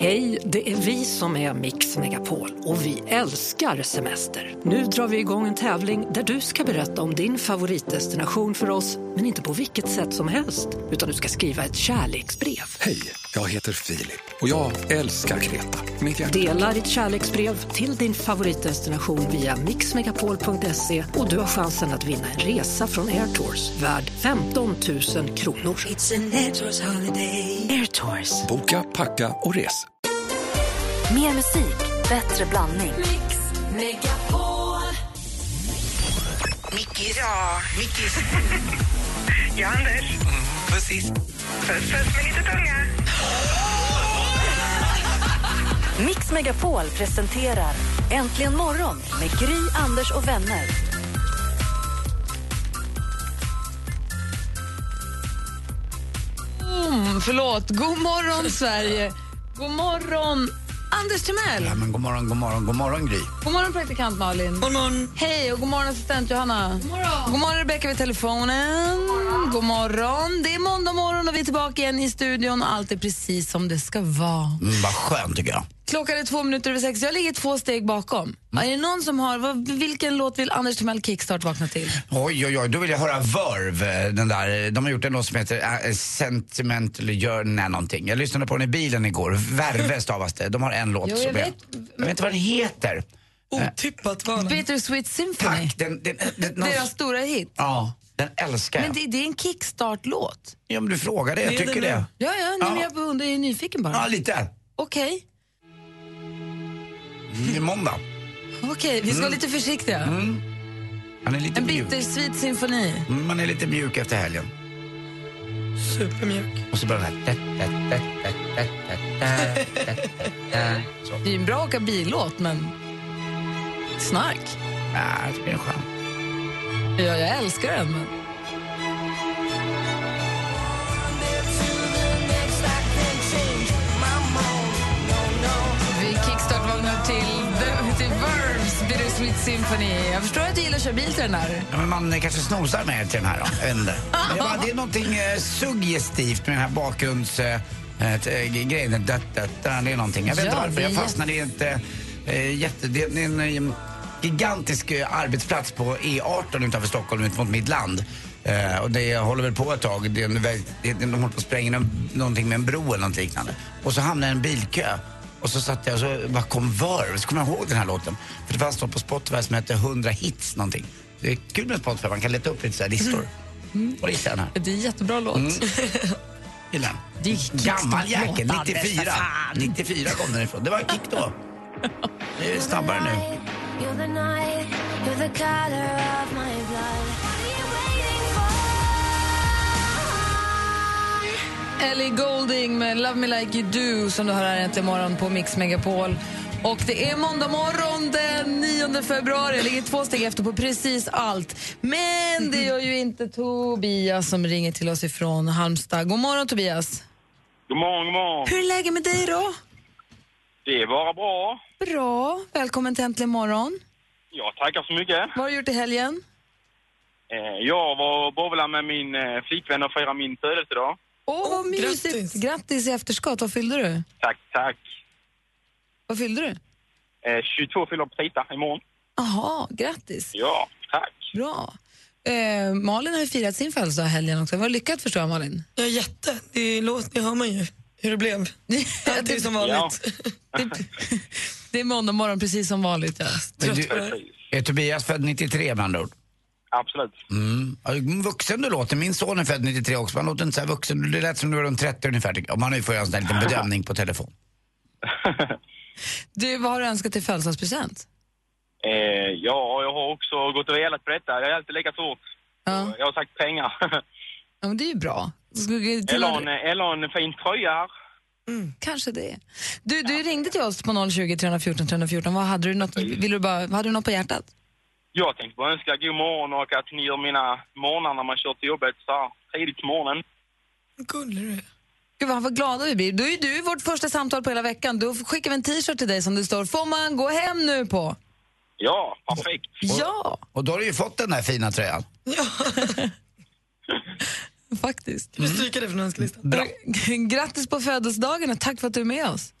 Hej, det är vi som är Mix Megapol och vi älskar semester. Nu drar vi igång en tävling där du ska berätta om din favoritdestination för oss, men inte på vilket sätt som helst, utan du ska skriva ett kärleksbrev. Hej, jag heter Filip och jag älskar Kreta. Mitt hjärta. Dela ditt kärleksbrev till din favoritdestination via mixmegapol.se och du har chansen att vinna en resa från Air Tours värd 15 000 kronor. Air Tours. Boka, packa och res. Mer musik, bättre blandning. Mickis. Ja, Mickis. ja, Anders. Mm, Precis. Puss, puss med lite tunga. Mix Megapol presenterar Äntligen morgon med Gry, Anders och vänner. Boom, förlåt. God morgon, Sverige. God morgon, Anders Timell. Ja, men god morgon, god morgon, god morgon Gry. Mm, God morgon, praktikant Malin. God morgon. Hej, och god morgon, assistent Johanna. God morgon, god morgon Rebecka vid telefonen. God morgon. Det är måndag morgon och vi är tillbaka igen i studion. och Allt är precis som det ska vara. Mm, vad skönt tycker jag. Klockan är två minuter över sex. Jag ligger två steg bakom. Är det någon som har... Vad, vilken låt vill Anders Timell kickstart vakna till? Oj, oj, oj, då vill jag höra Verve, eh, den där. De har gjort en låt som heter äh, Sentimental Journey någonting. Jag lyssnade på den i bilen igår. Verve stavas det. De har en låt Jo, jag som vet. jag vet inte vad den heter. Otippat val. Bittersweet Symphony. Tack, den, den, den, den, Deras stora hit. Ja, den älskar jag. Men det, det är en kickstart-låt. Ja, men du frågade, jag Det är tycker den det. Ja, ja, nej, Ja. men jag undrar, jag är nyfiken bara. Ja, lite. Okej. Det är måndag. Okej, vi ska vara lite försiktiga. Man är lite En mjuk. bittersweet symfoni. Mm, Man är lite mjuk efter helgen. Supermjuk. Och så börjar den här... Så. Det är ju en bra åka billåt, men... Snark. Ja, Äh, det blir skönt. Ja, jag älskar den, men... Vi kickstartvagnar till, The- till Verbs Bittersweet Symphony. Jag förstår att du gillar att köra bil till den här. Ja, men man eh, kanske snosar mer till den här då. Jag vet inte. Men jag bara, det är någonting eh, suggestivt med den här bakgrunds... Eh, eh, t- grejen, det, det, det, det är någonting. Jag vet Ja, inte varför, det är jag fastnade i ett... Eh, jätte, det, det är en eh, gigantisk eh, arbetsplats på E18 utanför Stockholm ut mot mitt land. Eh, och det håller väl på ett tag. Det är en, väg- det, är- de håller på att spränga någon- någonting med en bro eller något liknande. Och så hamnar jag i en bilkö. Och så satt jag och så bara kom Verve, så kommer jag ihåg den här låten. För det fanns något på Spotify som hette 100 hits någonting. Det är kul med Spotify, man kan leta upp lite så här listor. Och det är den här. Det är en jättebra låt. Gillar den. Det är kickstart- Gammal jäkel, låtar, 94. 94 kom den ifrån. Det var en kick då. Det är snabbare nu. Ellie Golding med Love Me Like You Do som du hör här äntligen morgon på Mix Megapol. Och det är måndag morgon den 9 februari. Jag ligger två steg efter på precis allt. Men det gör ju inte Tobias som ringer till oss ifrån Halmstad. God morgon Tobias. God morgon, god morgon. Hur är läget med dig då? Det är bara bra. Bra. Välkommen till Äntligen morgon. Jag tackar så mycket. Vad har du gjort i helgen? Eh, Jag var och bowlade med min eh, flickvän och firade min födelsedag. Åh, vad mysigt. Grattis. grattis. i efterskott. Vad fyllde du? Tack, tack. Vad fyllde du? Eh, 22 fyller på Tita imorgon. Jaha, grattis. Ja, tack. Bra. Eh, Malin har ju firat sin födelsedag i helgen också. Vad lyckat förstår jag, Malin. Ja, jätte. Det, låt, det hör man ju hur det blev. Allt är som Ja. vanligt. Det, det är måndag morgon precis som vanligt. Ja. Men Trött på det här. Precis. Är Tobias född 93 med andra ord? Absolut. Mm. Ja, Vuxen du låter. Min son är född 93 också. Man låter inte så här vuxen. Det lät som du var runt 30 ungefär. tycker jag. Man har ju fått göra en sån här liten bedömning på telefon. Du, vad har du önskat till födelsedagspresent? Eh, Ja, jag har också gått och velat på detta. Jag är alltid lika svårt. Ja. Jag har sagt pengar. ja, men det är ju bra. Skulle- till- Eller en, eller en fin tröja här. Kanske det. Du, du ringde till oss på 020 314 314. Vad hade du något, vill du bara, hade du något på hjärtat? Jag tänkte bara önska god morgon och att ni gör mina morgnar när man kör till jobbet så här tidigt på morgonen. Gullig du är. Gud vad, vad glada vi blir. Du är ju du vårt första samtal på hela veckan. Då skickar vi en t-shirt till dig som det står Får man gå hem nu på? Ja, perfekt. Ja, Och då har du ju fått den här fina tröjan. Ja, faktiskt. du vill stryka det från önskelistan. Bra. Grattis på födelsedagen och tack för att du är med oss.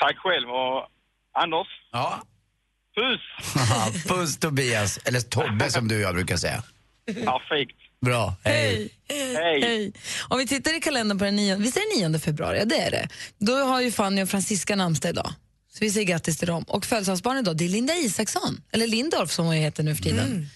Tack själv och Anders, Ja. puss! Haha, Puss Tobias, eller Tobbe som du och jag brukar säga. Perfekt. Bra, hej. Hej! Hej. Om vi tittar i kalendern på den 9, visst är det 9 februari? Ja, det är det. Då har ju Fanny och Francisca namnsdag idag. Så vi säger grattis till dem. Och födelsedagsbarn idag, det är Linda Isaksson, eller Lindorff som hon heter nu för tiden.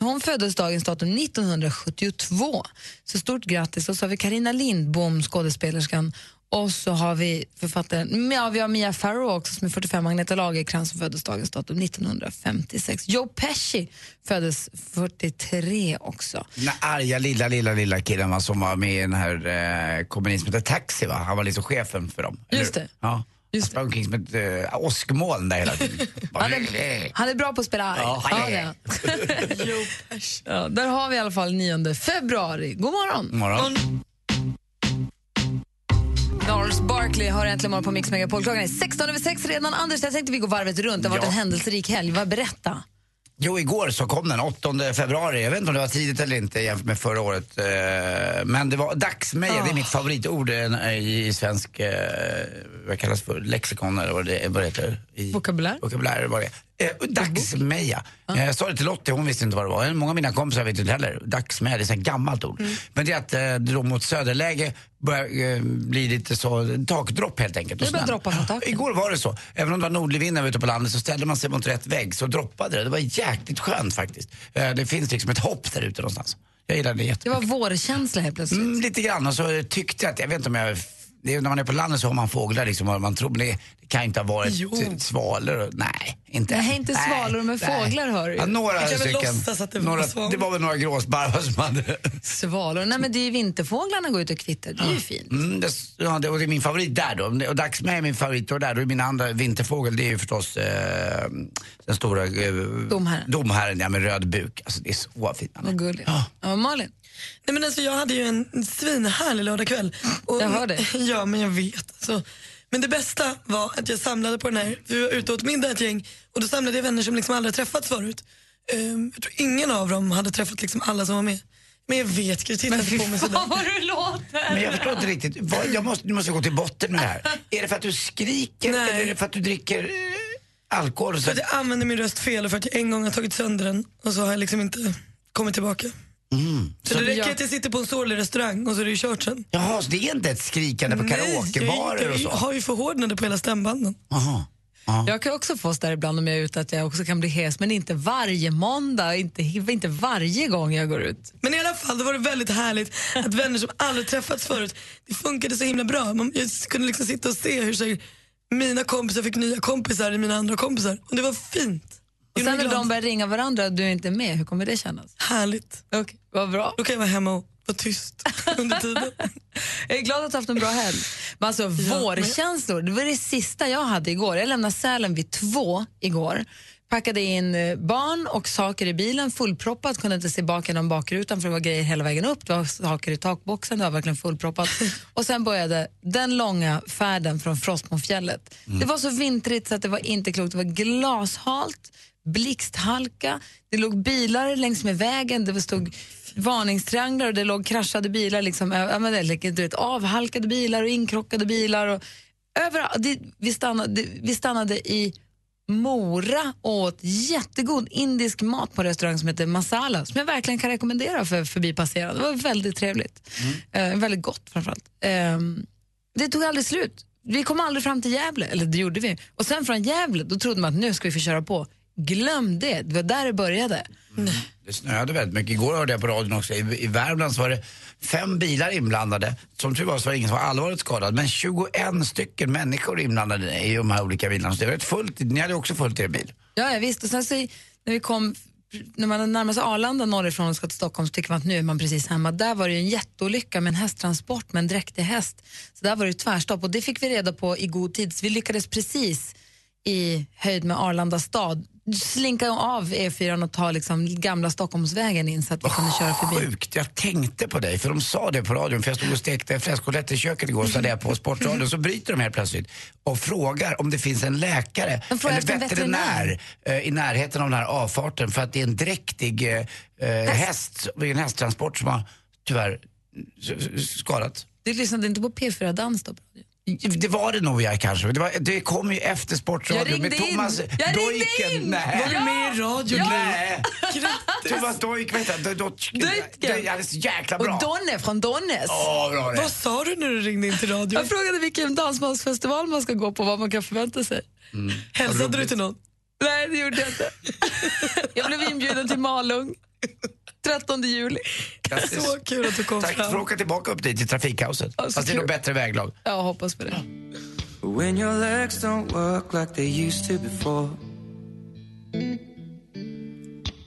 Hon föddes dagens datum 1972. Så stort grattis. Och så har vi Karina Lindbom, skådespelerskan. Och så har vi författaren, ja, vi har Mia Farrow också som är 45, Agneta Lagercrantz som föddes dagens datum 1956. Joe Pesci föddes 43 också. Den där arga lilla, lilla, lilla killen va, som var med i den här eh, komedin som hette Taxi va? Han var liksom chefen för dem. eller Just hur? det. Ja. Just han sprang omkring som ett eh, åskmoln där hela tiden. Bara, Han är, han är bra på att spela arg. Ja, Ja, hej. det är han. ja, där har vi i alla fall 9 februari. God morgon! Morgon. Lars Barkley har äntligen morgon på Mix Megapol. Klockan är 16 över 6 redan. Anders, jag tänkte vi går varvet runt. Det har varit Ja. en händelserik helg. Vad berätta. Jo, igår så kom den, 8 februari. Jag vet inte om det var tidigt eller inte jämfört med förra året. eh, Men det var dagsmeja, det är Ah. mitt favoritord eh, i svensk, eh, vad kallas för, lexikon eller vad det, vad det heter. I Vokabulär. Ah. Vokabulär eller vad det är. Eh, Dagsmeja. Eh, Jag sa det till Lottie, hon visste inte vad det var. Många av mina kompisar vet inte heller. Dagsmeja, det är ett gammalt ord. Mm. Men det är att eh, det då mot söderläge börjar eh, bli lite så, takdropp helt enkelt. och Det börjar snön. droppa från taket. Igår Igår var det så. Även om det var nordlig vind när vi var ute på landet så ställde man sig mot rätt vägg så droppade det. Det var jäkligt skönt faktiskt. Eh, Det finns liksom ett hopp där ute någonstans. Jag gillar det Det jättemycket. var vårkänsla helt plötsligt. Mm, lite grann och så tyckte jag att, jag vet inte om jag det är, när man är på landet så har man fåglar liksom, och man tror, men det det kan inte ha varit jo. svalor. och- Nej, inte. Nej, inte Nej, svalor, men nej. fåglar hör du ju. Ja, några Jag kan väl stycken. låtsas att det var några, svalor. det var väl några gråsparvar som hade Svalor. Nej, men det är ju vinterfåglarna går ut och kvittrar. Det är ju fint. Mm, det, ja, det, och det är min favorit där då. Och dagsmeja är min favorit och där. Och min andra vinterfågel det är ju förstås eh, den stora eh, Domherren. domherren, ja, med röd buk. Alltså det är så fint. Vad gulligt. Ja. Ja, Malin? Nej, men alltså, jag hade ju en svinhärlig lördagkväll. Och- Jag hör det. Ja, men jag vet. Alltså. Men det bästa var att jag samlade på den här, vi var ute och åt middag ett gäng och då samlade jag vänner som liksom aldrig har träffats förut. Ehm, jag tror ingen av dem hade träffat liksom alla som var med. Men jag vet, Gry tittade på mig sådär. vad du låter! Men jag förstår inte riktigt. Vad, jag måste, nu måste jag gå till botten med det här. Är det för att du skriker Nej. eller är det för att du dricker eh, alkohol? Och så? För att jag använde min röst fel och för att jag en gång har tagit sönder den och så har jag liksom inte kommit tillbaka. Så, det räcker att jag sitter på en sorglig restaurang och så är det ju kört sen. Jaha, så det är inte ett skrikande på jag, karaokebarer jag, och jag så? har ju förhårdnader på hela stämbanden. Aha. Jag kan också få oss där ibland om jag är ute att jag också kan bli hes, men inte varje måndag, inte, inte varje gång jag går ut. Men i alla fall, då var det väldigt härligt att vänner som aldrig träffats förut, det funkade så himla bra. Man, jag kunde liksom sitta och se hur så här, mina kompisar fick nya kompisar i mina andra kompisar. Och det var fint. Och Gjorde sen mig när glad. de börjar ringa varandra och du är inte med, hur kommer det kännas? Härligt. Okej, vad bra. Då kan jag vara hemma och vara tyst under tiden. Jag är glad att du har haft en bra helg. Men alltså vårkänslor, det var det sista jag hade igår. Jag lämnade Sälen vid två igår. Packade in eh, barn och saker i bilen, fullproppat, kunde inte se bak genom bakrutan för det var grejer hela vägen upp. Det var saker i takboxen, det var verkligen fullproppat. Och sen började den långa färden från Frostmofjället. Det var så vintrigt så att det var inte klokt. Det var glashalt, blixthalka, det låg bilar längs med vägen, det stod varningstrianglar och det låg kraschade bilar, liksom, ö- ja, men det, är du vet, avhalkade bilar och inkrockade bilar. Och, överallt, det, vi, stannade, det, vi stannade i Mora och åt jättegod indisk mat på en restaurang som heter Masala som jag verkligen kan rekommendera för förbipasserande. Det var väldigt trevligt. Eh, väldigt gott framförallt. Ehm, det tog aldrig slut. Vi kom aldrig fram till Gävle, eller det gjorde vi. Och sen från Gävle, då trodde man att nu ska vi få köra på. Glöm det, det var där det började. Det snöade väldigt mycket. Igår hörde jag på radion också, i, i Värmland så var det fem bilar inblandade. Som tur var så var det ingen som var allvarligt skadad, men 21 stycken människor inblandade i de här olika bilarna. Så det var rätt fullt, ni hade också fullt i er bil. Ja, ja visst. Och sen så, i- när vi kom, när man närmar sig Arlanda norrifrån och ska till Stockholm så tycker man att nu är man precis hemma. Där var det ju en jätteolycka med en hästtransport med en dräktig häst. Så där var det ju tvärstopp och det fick vi reda på i god tid. Så vi lyckades precis i höjd med Arlanda stad slinka av E4 och ta liksom gamla Stockholmsvägen in så att vi kunde köra förbi. Sjukt, jag tänkte på dig för de sa det på radion för jag stod och stekte fläskkotlett i köket igår så hade jag på sportradion så bryter de helt plötsligt och frågar om det finns en läkare De frågar eller efter en veterinär eh, i närheten av den här avfarten för att det är en dräktig eh, eh, häst, det är en hästtransport som har tyvärr s- s- skadat. Du lyssnade inte på P4 Dans då? Det var det nog jag kanske. Det, var, det kom ju efter sportradion Jag med ringde in. Thomas Jag ringde Dojken. in. Nej. Var du med i radion? Nej. Thomas Dojk, vet du, Dojk. Dojken. Det är så jäkla Och bra. Donne från Donnes. Åh, bra det. Vad sa du när du ringde in till radion? Jag frågade vilken dansbandsfestival man ska gå på, vad man kan förvänta sig. Mm. Hälsade du till någon? Nej, det gjorde jag inte. Jag blev inbjuden till Malung 13 juli. Grattis. Så kul att du kom Tack, fram. får åka tillbaka upp dit till trafikkaoset. Ja, så Fast det är kul. nog bättre väglag. Jag hoppas på det. When your legs don't work like they used to before.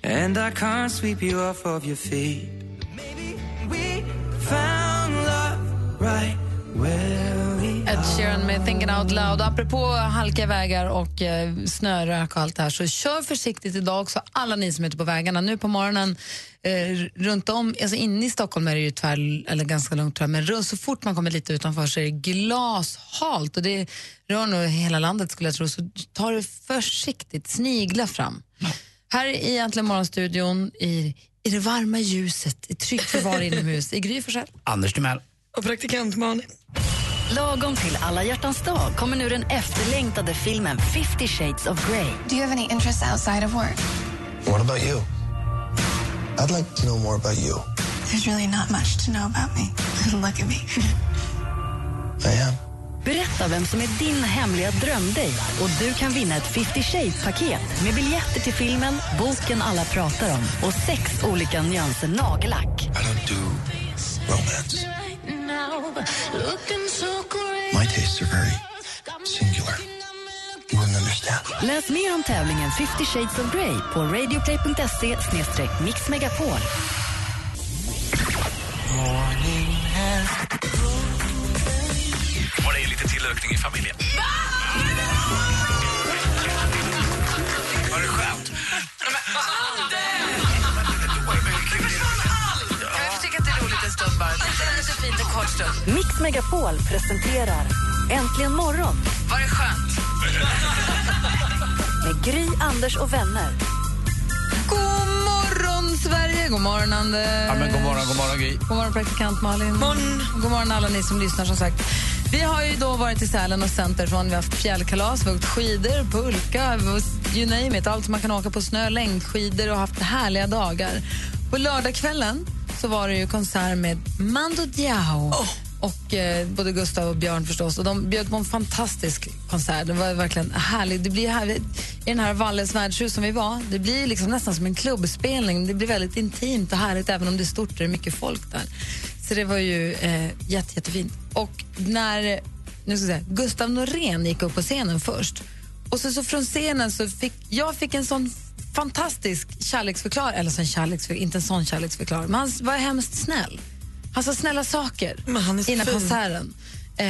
And I can't sweep you off of your feet. Maybe we found love right where we Ed Sheeran med Thinking Out Loud. Apropå halkiga vägar och eh, snörök och allt det här så kör försiktigt idag också alla ni som är ute på vägarna. Nu på morgonen eh, runt om, alltså inne i Stockholm är det ju tvär, eller ganska lugnt tror jag, men runt- så fort man kommer lite utanför så är det glashalt och det rör nog hela landet skulle jag tro. Så ta det försiktigt, snigla fram. Här i Äntligen morgonstudion i, i det varma ljuset, i tryggt förvar inomhus, i Gry Forssell. Anders Timell. Och praktikant Malin. Lagom till alla hjärtans dag kommer nu den efterlängtade filmen 50 shades of Grey. Do you have any interests outside of work? What about you? I'd like to know more about you. There's really not much to know about me. Look at me. I am. Berätta vem som är din hemliga drömdejt och du kan vinna ett 50 Shades-paket med biljetter till filmen, boken alla pratar om och sex olika nyanser nagellack. I don't do romance. My tastes are very singular. You wouldn't understand. Läs mer om tävlingen 50 Shades of Grey på radioplay.se mixmegapol. Var det lite tillökning i familjen? Var det skönt? Mix Megapol presenterar Äntligen morgon. Var det skönt? Med Gry, Anders och vänner. God morgon, Sverige! God morgon, Anders! Ja, men god morgon, god morgon Gry. God morgon, praktikant Malin. Morgon. God morgon, alla ni som lyssnar. som sagt. Vi har ju då varit i Sälen och Centerfon. Vi har haft fjällkalas, vi har åkt skidor, pulka, you name it. Allt som man kan åka på snö, längdskidor och haft härliga dagar. På lördagskvällen så var det ju konsert med Mando Diao. Och eh, både Gustav och Björn förstås. Och de bjöd på en fantastisk konsert. Det var verkligen härligt. Det blir här, I den här Valles värdshus som vi var, det blir liksom nästan som en klubbspelning. Det blir väldigt intimt och härligt även om det är stort och det är mycket folk där. Så det var ju eh, jätte, jättefint. Och när nu ska jag säga, Gustav Norén gick upp på scenen först och så, så från scenen så fick jag fick en sån fantastisk kärleksförklaring, eller sån kärleksförklaring, inte en sån kärleksförklaring, men han var hemskt snäll. Han sa Alltså, snälla saker Men han är så innan fin. konserten eh,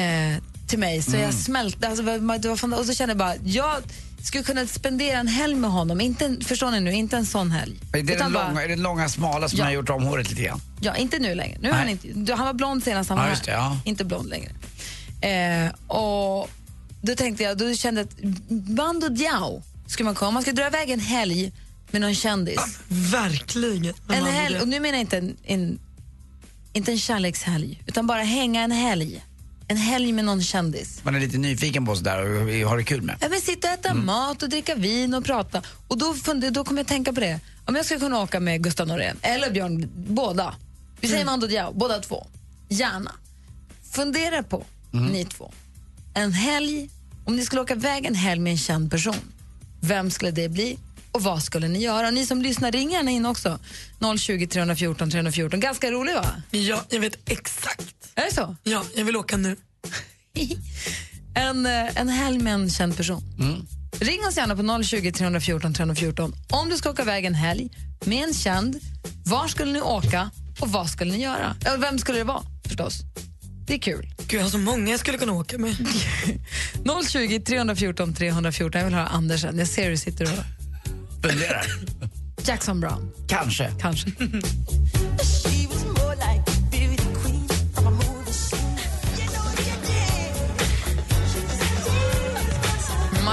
till mig. Så Mm. jag smälte. Alltså, det var- det var fanta- och så kände jag bara, jag skulle kunna spendera en helg med honom. Inte, en- förstår ni nu? Inte en sån helg. Är det den Utan bara- långa, är det den långa smala som Ja. har gjort om håret lite grann? Ja, inte nu längre. Nu är Nej. han, inte, du- han var blond senast han Ja, var just det, här. ja. Inte blond längre. Eh, och då tänkte jag, då kände jag att Bando Diao skulle man komma. Man ska dra iväg en helg med någon kändis. Verkligen. en Amanda. helg, och nu menar jag inte en, en, inte en kärlekshelg, utan bara hänga en helg. En helg med någon kändis. Man är lite nyfiken på sådär och har det kul med. Ja, men sitta och äta mat och dricka vin och prata. Och då, funde, då kom jag att tänka på det. Om jag skulle kunna åka med Gustav Norén eller Björn, båda. Vi säger Mando Diao, båda två. Gärna. Fundera på, ni två. En helg, om ni skulle åka iväg en helg med en känd person, vem skulle det bli? Och vad skulle ni göra? Och ni som lyssnar, ring gärna in också. 020 314 314. Ganska rolig va? Ja, jag vet exakt. Är det så? Ja, jag vill åka nu. en, eh, en helg med en känd person. Ring oss gärna på 020 314 314 om du ska åka iväg en helg med en känd. Var skulle ni åka och vad skulle ni göra? Eller vem skulle det vara förstås? Det är kul. Gud, jag har så många jag skulle kunna åka med. 020 314 314. Jag vill höra Anders sen. Jag ser hur du sitter och Funderar. Jackson Brown. Kanske. Kanske. She was more like a beauty queen from a movie scene.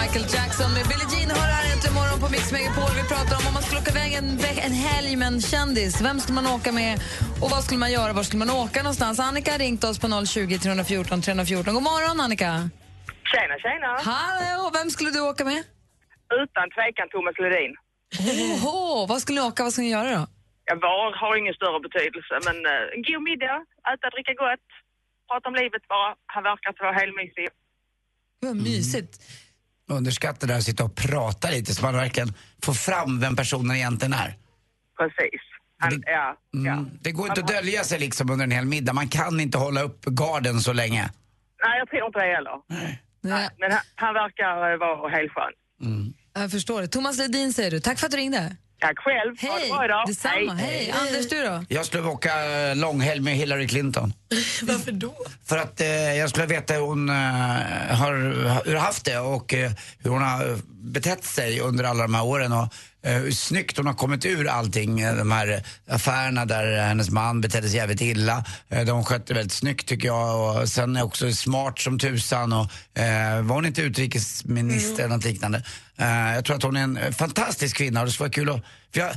Michael Jackson med Billie Jean hör här äntligen morgon på Mix Megapol. Vi pratar om om man skulle åka iväg en, ve- en helg med en kändis. Vem skulle man åka med och vad skulle man göra? Var skulle man åka någonstans? Annika har ringt oss på 020 314 314. God morgon Annika! Tjena, tjena! Hallå! Vem skulle du åka med? Utan tvekan Thomas Ledin. Oho, vad skulle ni åka? Vad skulle ni göra då? Jag var har ingen större betydelse, men eh, en god middag, äta, dricka gott, prata om livet bara. Han verkar inte vara helmysig. Vad mysigt. Underskatta det här att sitta och prata lite så man verkligen får fram vem personen egentligen är. Precis. Han, ja, Mm. Det går inte att dölja sig liksom under en hel middag. Man kan inte hålla upp garden så länge. nej, jag tror inte det heller. Nej, Men han, han verkar eh, vara helt skön. Jag förstår det. Thomas Ledin säger du. Tack för att du ringde. Tack själv. Hej. Ha det bra idag. Detsamma. Hej. Hej. Anders, du då? Jag skulle åka eh, långhelg med Hillary Clinton. Varför då? För att eh, jag skulle vilja veta hur hon eh, har, hur har haft det och eh, hur hon har eh, betett sig under alla de här åren och eh, hur snyggt hon har kommit ur allting. eh, De här affärerna där hennes man betedde sig jävligt illa. Eh, de skötte väldigt snyggt tycker jag och sen är också smart som tusan och eh, var hon inte utrikesminister eller något liknande. Eh, jag tror att hon är en eh, fantastisk kvinna och det skulle vara kul att, för jag,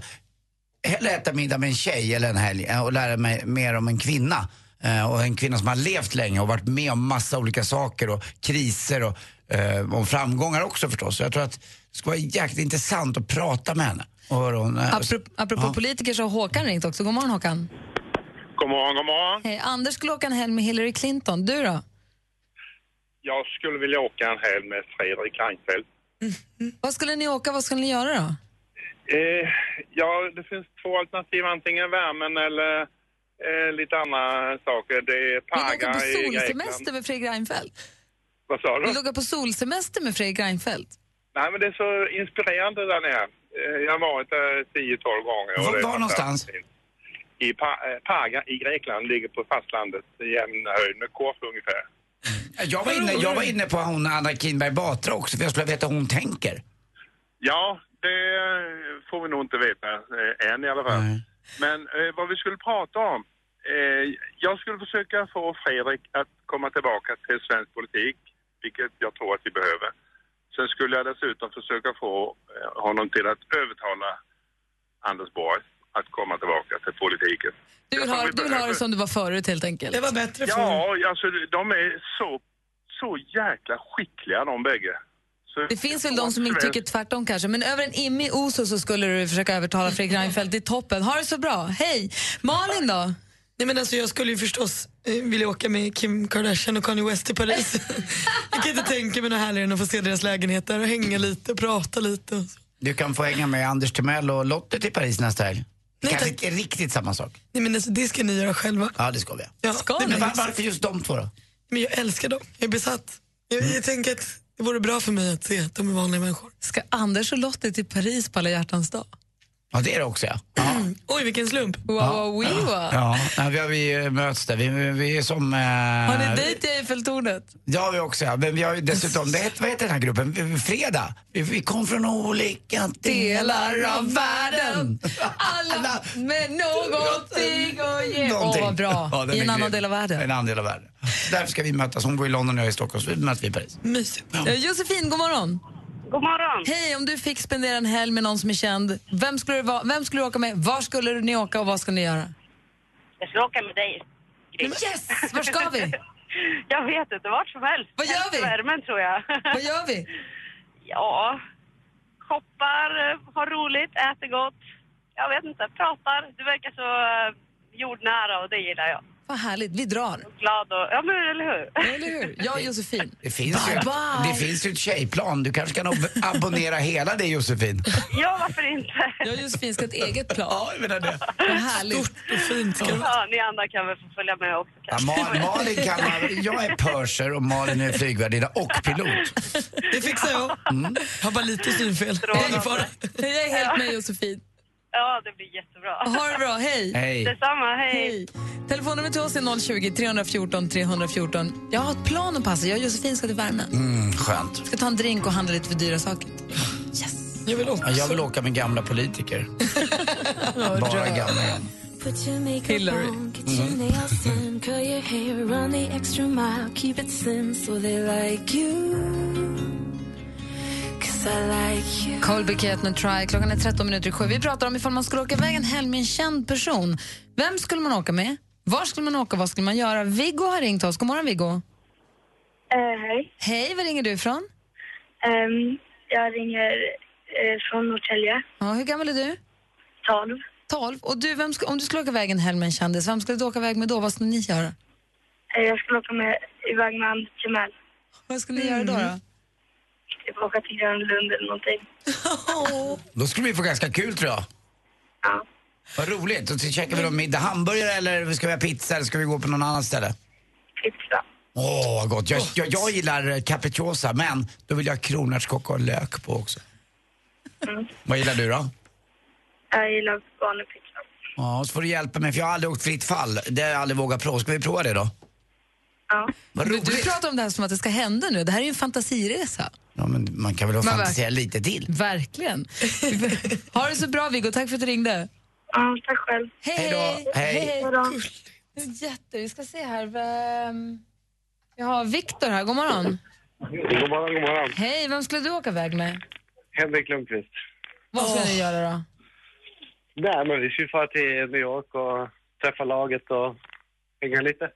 hellre äta middag med en tjej eller en helg eh, och lära mig mer om en kvinna. Eh, Och en kvinna som har levt länge och varit med om massa olika saker och kriser och, eh, och framgångar också förstås. Så jag tror att det skulle vara jäkligt intressant att prata med henne. Och höra hon, eh, Apropå, apropå politiker så har Håkan ringt också. God morgon Håkan. God morgon, god morgon. Hej. Anders skulle åka en helg med Hillary Clinton. Du då? Jag skulle vilja åka en helg med Fredrik Reinfeldt. Vad skulle ni åka? Vad skulle ni göra då? Eh, ja, det finns två alternativ, antingen värmen eller eh, lite andra saker. Det Ah, är Mm. Vill du åka Paga på i Grekland. solsemester med Fredrik Reinfeldt? Vad sa Vill du du? åka på solsemester med Fredrik Reinfeldt? Nej, men det är så inspirerande där nere. Eh, Jag har varit där 10-12 gånger. och Var- det är var någonstans? fantastiskt. I Pa- eh, Paga i Grekland, ligger på fastlandet i jämn höjd med Korfu ungefär. jag, var inne, jag var inne på hon Anna Kinberg Batra också för jag skulle vilja veta hur hon tänker. Ja, det får vi nog inte veta eh, än i alla fall. Mm. Men eh, vad vi skulle prata om. Eh, jag skulle försöka få Fredrik att komma tillbaka till svensk politik, vilket jag tror att vi behöver. Sen skulle jag dessutom försöka få eh, honom till att övertala Anders Borg att komma tillbaka till politiken. Du vill, ha, du vill ha det som du var förut helt enkelt. Det var bättre Ja, alltså de är så, så jäkla skickliga de bägge. Så- Det finns väl de som inte Svensk- tycker tvärtom kanske, men över en imme i Oso så skulle du försöka övertala Fredrik Reinfeldt. Det är toppen. Ha det så bra. Hej! Malin då? Nej, men alltså, jag skulle ju förstås eh, vilja åka med Kim Kardashian och Kanye West till Paris. jag kan inte tänka mig något härligare än att få se deras lägenheter och hänga lite och prata lite. och så. Du kan få hänga med Anders Timell och Lotte till Paris nästa helg. Kanske inte är riktigt samma sak. Nej, men alltså, det ska ni göra själva. Ja, det ska vi. Ja, det Men blir var, mysigt. varför just de två då? Men jag älskar dem. Jag är besatt. Jag, jag tänker att det vore bra för mig att se att de är vanliga människor. Ska Anders och Lottie till Paris på alla hjärtans dag? Ja, det är det också ja. Oj, vilken slump. Wow, wow, wow. Ja, nej, vi, har, vi eh, möts där. Vi, vi- vi är som... Eh, Har ni dejt i Eiffeltornet? Ja, vi också. Ja. Men vi har ju dessutom, det heter, vad heter den här gruppen? Vi- vi- Fredag. Vi, vi kom från olika delar av världen. Alla med någonting att ge. Åh, Någonting. vad bra. Ja, den I är en annan grym. del av världen. En annan del av världen. Därför ska vi mötas. Hon bor i London och jag är i Stockholm, så vi möts vi i Paris. Mysigt. Eh, Josefin, god morgon. God morgon. Hej, om du fick spendera en helg med någon som är känd, vem skulle, du vara, vem skulle du åka med, var skulle ni åka och vad skulle ni göra? Jag ska åka med dig. Yes! Var ska vi? Jag vet inte, vart som helst. Vad gör vi? Värmen tror jag. Vad gör vi? Ja, shoppar, eh, har roligt, äter gott. Jag vet inte, pratar. Du verkar så eh, jordnära och det gillar jag. Vad härligt, vi drar. Glad och... Ja, men eller hur? Eller hur? Jag och Josefin. Det finns, ju, Bye-bye. det finns ju ett tjejplan. Du kanske kan ab- abonnera hela det, Josefin. Ja, varför inte? Jag och Josefin ska ha ett eget plan. Ja, jag menar det. Vad härligt. Stort och fint ska Ja, ni andra kan väl få följa med också Ja, kanske. Mal- Malin kan man, jag är purser och Malin är flygvärdinna och pilot. Det fixar jag. Jag har bara lite synfel. Det är ingen fara. Jag är helt med Josefin. Ja, det blir jättebra. Ha det bra, hej. Hej. Detsamma, Hej. Telefonnumret till oss är 020 314 314. Jag har ett plan att passa. Jag och Josefin ska till värmen. Mm, skönt. Ska ta en drink och handla lite för dyra saker. Yes. Jag vill också. Ja, jag vill åka med gamla politiker. Bara gamla. Put your makeup Hillary. on, get your nails done, curl your hair, run the extra mile, keep it slim so they like you. Cause I like you. Cole Bukett med Try. Klockan är 13 minuter i sju. Vi pratar om ifall man skulle åka iväg en helg med en känd person. Vem skulle man åka med? Var skulle man åka? Vad skulle man göra? Viggo har ringt oss. God morgon, Viggo. Eh, hej. Ehm, Hej, var ringer du ifrån? jag ringer eh, från Norrtälje. Ja, hur gammal är du? 12. 12. Och du, vem sk- om du skulle åka iväg en helg med en kändis, vem skulle du åka iväg med då? Vad skulle ni göra? Eh, jag skulle åka med, iväg med Anders Timell. Vad skulle ni göra då? Mm. då? Typ åka till Grönlund eller någonting. Då skulle vi få ganska kul tror jag. Ja. Vad roligt. Och så käkar vi då middag. Hamburgare eller ska vi ha pizza eller ska vi gå på någon annan ställe? Pizza. Åh, vad gott. Jag, jag, jag gillar eh, capricciosa, men då vill jag ha kronärtskocka och lök på också. Mm. Vad gillar du då? Jag gillar vanlig pizza. Ja, så får du hjälpa mig för jag har aldrig åkt fritt fall. Det har jag aldrig vågat prova. Ska vi prova det då? Ja. Vad Du, roligt. du pratar om det här som att det ska hända nu. Det här är ju en fantasiresa. Ja, men man kan väl ha Men fantisera lite till? Verkligen. ha det så bra, Viggo. Tack för att du ringde. Ja, tack själv. Hej! Hej då. Hej. Det är Jätte, vi ska se här. Vem... Jag har Viktor här. God morgon. God morgon, god morgon. Hej, vem skulle du åka iväg med? Henrik Lundqvist. Vad skulle ni göra då? Nej, men vi ska ju fara till New York och träffa laget och hänga lite.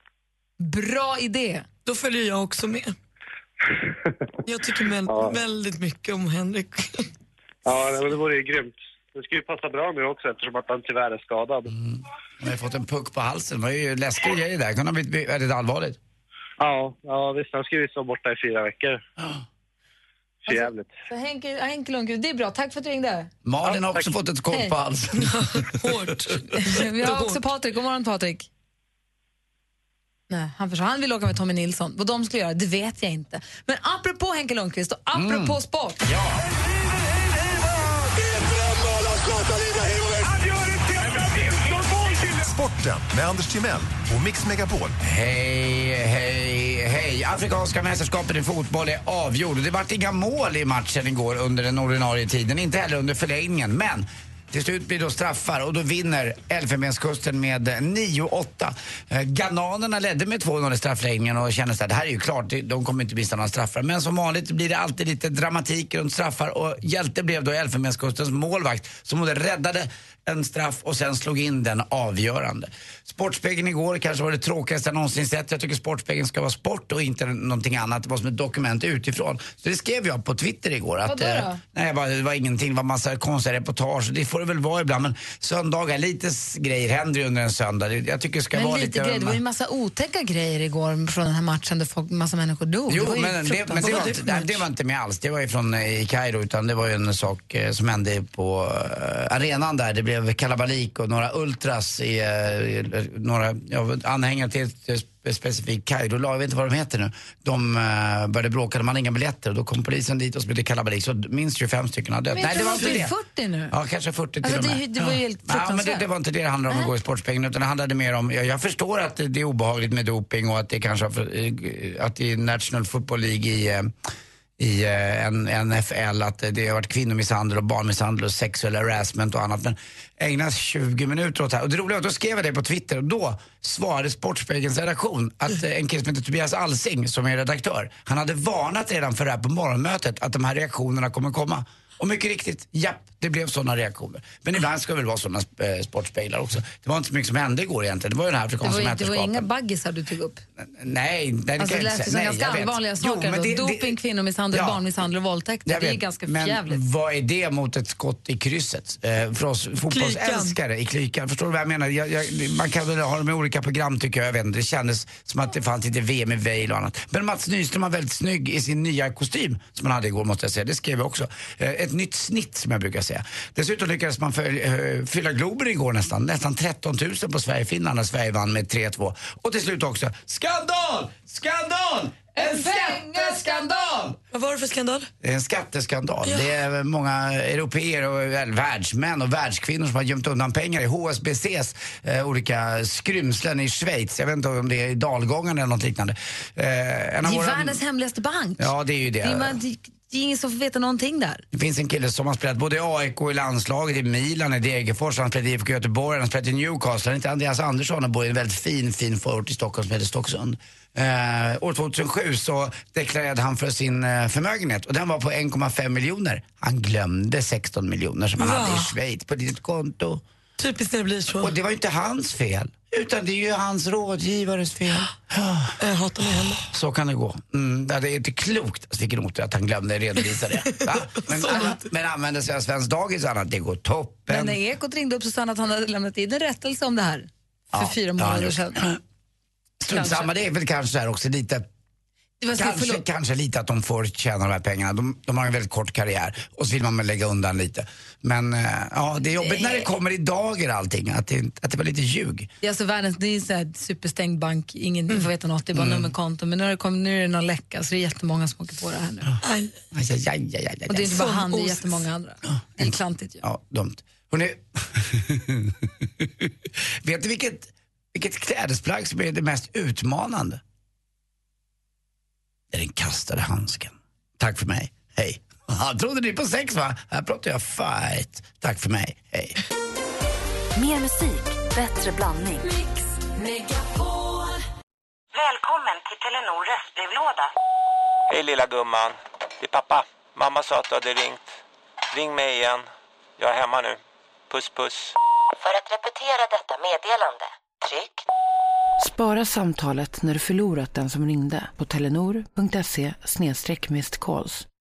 Bra idé. Då följer jag också med. Jag tycker väl, Ja. väldigt mycket om Henrik. Ja, nej, men det vore ju grymt. Det skulle ju passa bra nu också eftersom att han tyvärr är skadad. Jag har fått en puck på halsen. Det var ju läskig grej där. Det kunde ha blivit väldigt allvarligt. Ja, ja visst. Han ska ju vara borta i fyra veckor. För jävligt. Så Henke, Henke Lundqvist, det är bra. Tack för att du ringde. Malin har också fått ett Hej. skott på halsen. Hårt. Vi har också Patrik. God morgon, Patrik. Nej, han, försvann. han vill åka med Tommy Nilsson. Vad de skulle göra, det vet jag inte. Men apropå Henke Lundqvist och apropå Mm. sport. Sporten med Anders Timell och Mix Megapol. Hej, hej, hej. Afrikanska mästerskapet i fotboll är avgjord. Det vart inga mål i matchen igår under den ordinarie tiden, inte heller under förlängningen. Men till slut blir det då straffar och då vinner Elfenbenskusten med eh, 9-8. Eh, Ghananerna ledde med 2-0 i straffläggningen och kändes att det här är ju klart, det- de kommer inte missa några straffar. Men som vanligt blir det alltid lite dramatik runt straffar och hjälte blev då Elfenbenskustens målvakt som både räddade en straff och sen slog in den avgörande. Sportspegeln igår kanske var det tråkigaste jag någonsin sett. Jag tycker Sportspegeln ska vara sport och inte någonting annat, vad som ett dokument utifrån. Så det skrev jag på Twitter igår. Att, Vadå då? eh, Nej, jag bara, det var ingenting. Det var massa konstiga reportage. Det får det väl vara ibland, men söndagar, lite s- grejer händer ju under en söndag. Det- Jag tycker det ska Men vara lite, lite... grejer, det var ju massa otäcka grejer igår från den här matchen där folk, massa människor dog. Jo, det var ju men, det, men det, var inte, nej, det var inte med alls. Det var ju från eh, i Kairo utan det var ju en sak eh, som hände på eh, arenan där. Det blev kalabalik och några ultras, i, eh, några ja, anhängare till ett eh, spe- specifikt Kairo-lag, jag vet inte vad de heter nu. De eh, började bråka, de hade inga biljetter och då kom polisen dit och så blev det kalabalik. Så minst 25 stycken har dött. Men Nej, det var inte det. 40 nu. Ja, kanske 40 till Alltså, och det är med. ju- det var ju helt ja, men det, fruktansvärt. det var inte det det handlade om att gå i Sportspegeln utan det handlade mer om, jag, jag förstår att det, det är obehagligt med doping och att det kanske har för, eh, att i National Football League i, eh, i eh, N- NFL att det har varit kvinnomisshandel och barnmisshandel och sexuell harassment och annat. Men ägna 20 minuter åt det här. Och det roliga var att då skrev jag det på Twitter och då svarade Sportspegelns redaktion att eh, en kille som heter Tobias Alsing som är redaktör, han hade varnat redan för det här på morgonmötet att de här reaktionerna kommer komma. Och mycket riktigt, japp, det blev sådana reaktioner. Men ibland ska det väl vara sådana eh, sportspeglar också. Det var inte så mycket som hände igår egentligen. Det var ju den här det var, afrikanska ju- det var mästerskapen. inga baggisar du tog upp. Nej, nej, det Alltså, kan det lät jag inte ju säga. som Nej, ganska jag vet. allvarliga Jo, saker. men det- då. Doping, kvinnomisshandel, Ja. barnmisshandel och våldtäkter. Jag Det är vet, ganska men förjävligt. vad är det mot ett skott i krysset? Eh, för oss fotbollsälskare i klykan. Förstår du vad jag menar? Jag, jag, man kan väl ha dem i olika program tycker jag. jag vet inte. Det kändes som att det fanns lite VM i Vail och annat. Men Mats Nyström var väldigt snygg i sin nya kostym som han hade igår måste jag säga. Det skrev jag också. Eh, ett nytt snitt som jag brukar säga. Dessutom lyckades man följ, eh, fylla Globen igår nästan. Nästan 13 000 på Sverige-Finland när Sverige vann med 3-2. Och till slut också, skandal! Skandal! En skatteskandal! Vad var det för skandal? Det är Eh, en skatteskandal. Det är många europeer och väl, världsmän och världskvinnor som har gömt undan pengar i HSBCs eh, olika skrymslen i Schweiz. Jag vet inte om det är i dalgången eller något liknande. Eh, en Det av är våra- världens hemligaste bank. Ja, det är ju det. Det är, man, det, det är ingen som får veta någonting där. Det finns en kille som har spelat både i AIK, i landslaget, i Milan, i Degerfors, han har spelat i IFK Göteborg, han har spelat i Newcastle. Han heter Andreas Andersson och bor i en väldigt fin, fin förort i Stockholm som heter Stocksund. Eh, år 2007 så deklarerade han för sin eh, förmögenhet och den var på 1,5 miljoner. Han glömde 16 miljoner som han Va? hade i Schweiz på ditt konto. Typiskt när det blir så. Och det var ju inte hans fel, utan det är ju hans rådgivares fel. Jag hatar mig heller. Så kan det gå. Mm, ja, det är inte klokt alltså, vilken otur att han glömde redovisa det. Va? Men, alla, men använder sig av Svensk Dagis och annat, det går toppen. Men när Ekot ringde upp så sa han att han hade lämnat in en rättelse om det här för Ja, fyra det har han månader gjort. sedan. Strunt samma, det är väl kanske så här också lite Det var så- Kanske, förlåt. kanske lite att de får tjäna de här pengarna. De, de har en väldigt kort karriär och så vill man väl lägga undan lite. Men eh, ja, det är jobbigt när det kommer i dager allting, att det, att det var lite ljug. Det är alltså världens, det är en sån här superstängd bank, ingen får veta något, det är bara nummerkonto. Men nu, har det kommit, nu är det någon läcka så det är jättemånga som åker på det här nu. Aj, aj, aj, aj, aj, aj. Och det är inte bara Som han, det är os- jättemånga andra. Det är klantigt ju. Ja, dumt. Hörrni, vet du vilket, vilket klädesplagg som är det mest utmanande? Det är den kastade handsken. Tack för mig. Hej. Haha, Trodde ni på sex va? Här pratar jag fight. Tack för mig. Hej. Mer musik, bättre blandning. Välkommen till Telenor röstbrevlåda. Hej lilla gumman. Det är pappa. Mamma sa att du hade ringt. Ring mig igen. Jag är hemma nu. Puss puss. För att repetera detta meddelande, tryck Spara samtalet när du förlorat den som ringde på telenor.se snedstreck missed calls.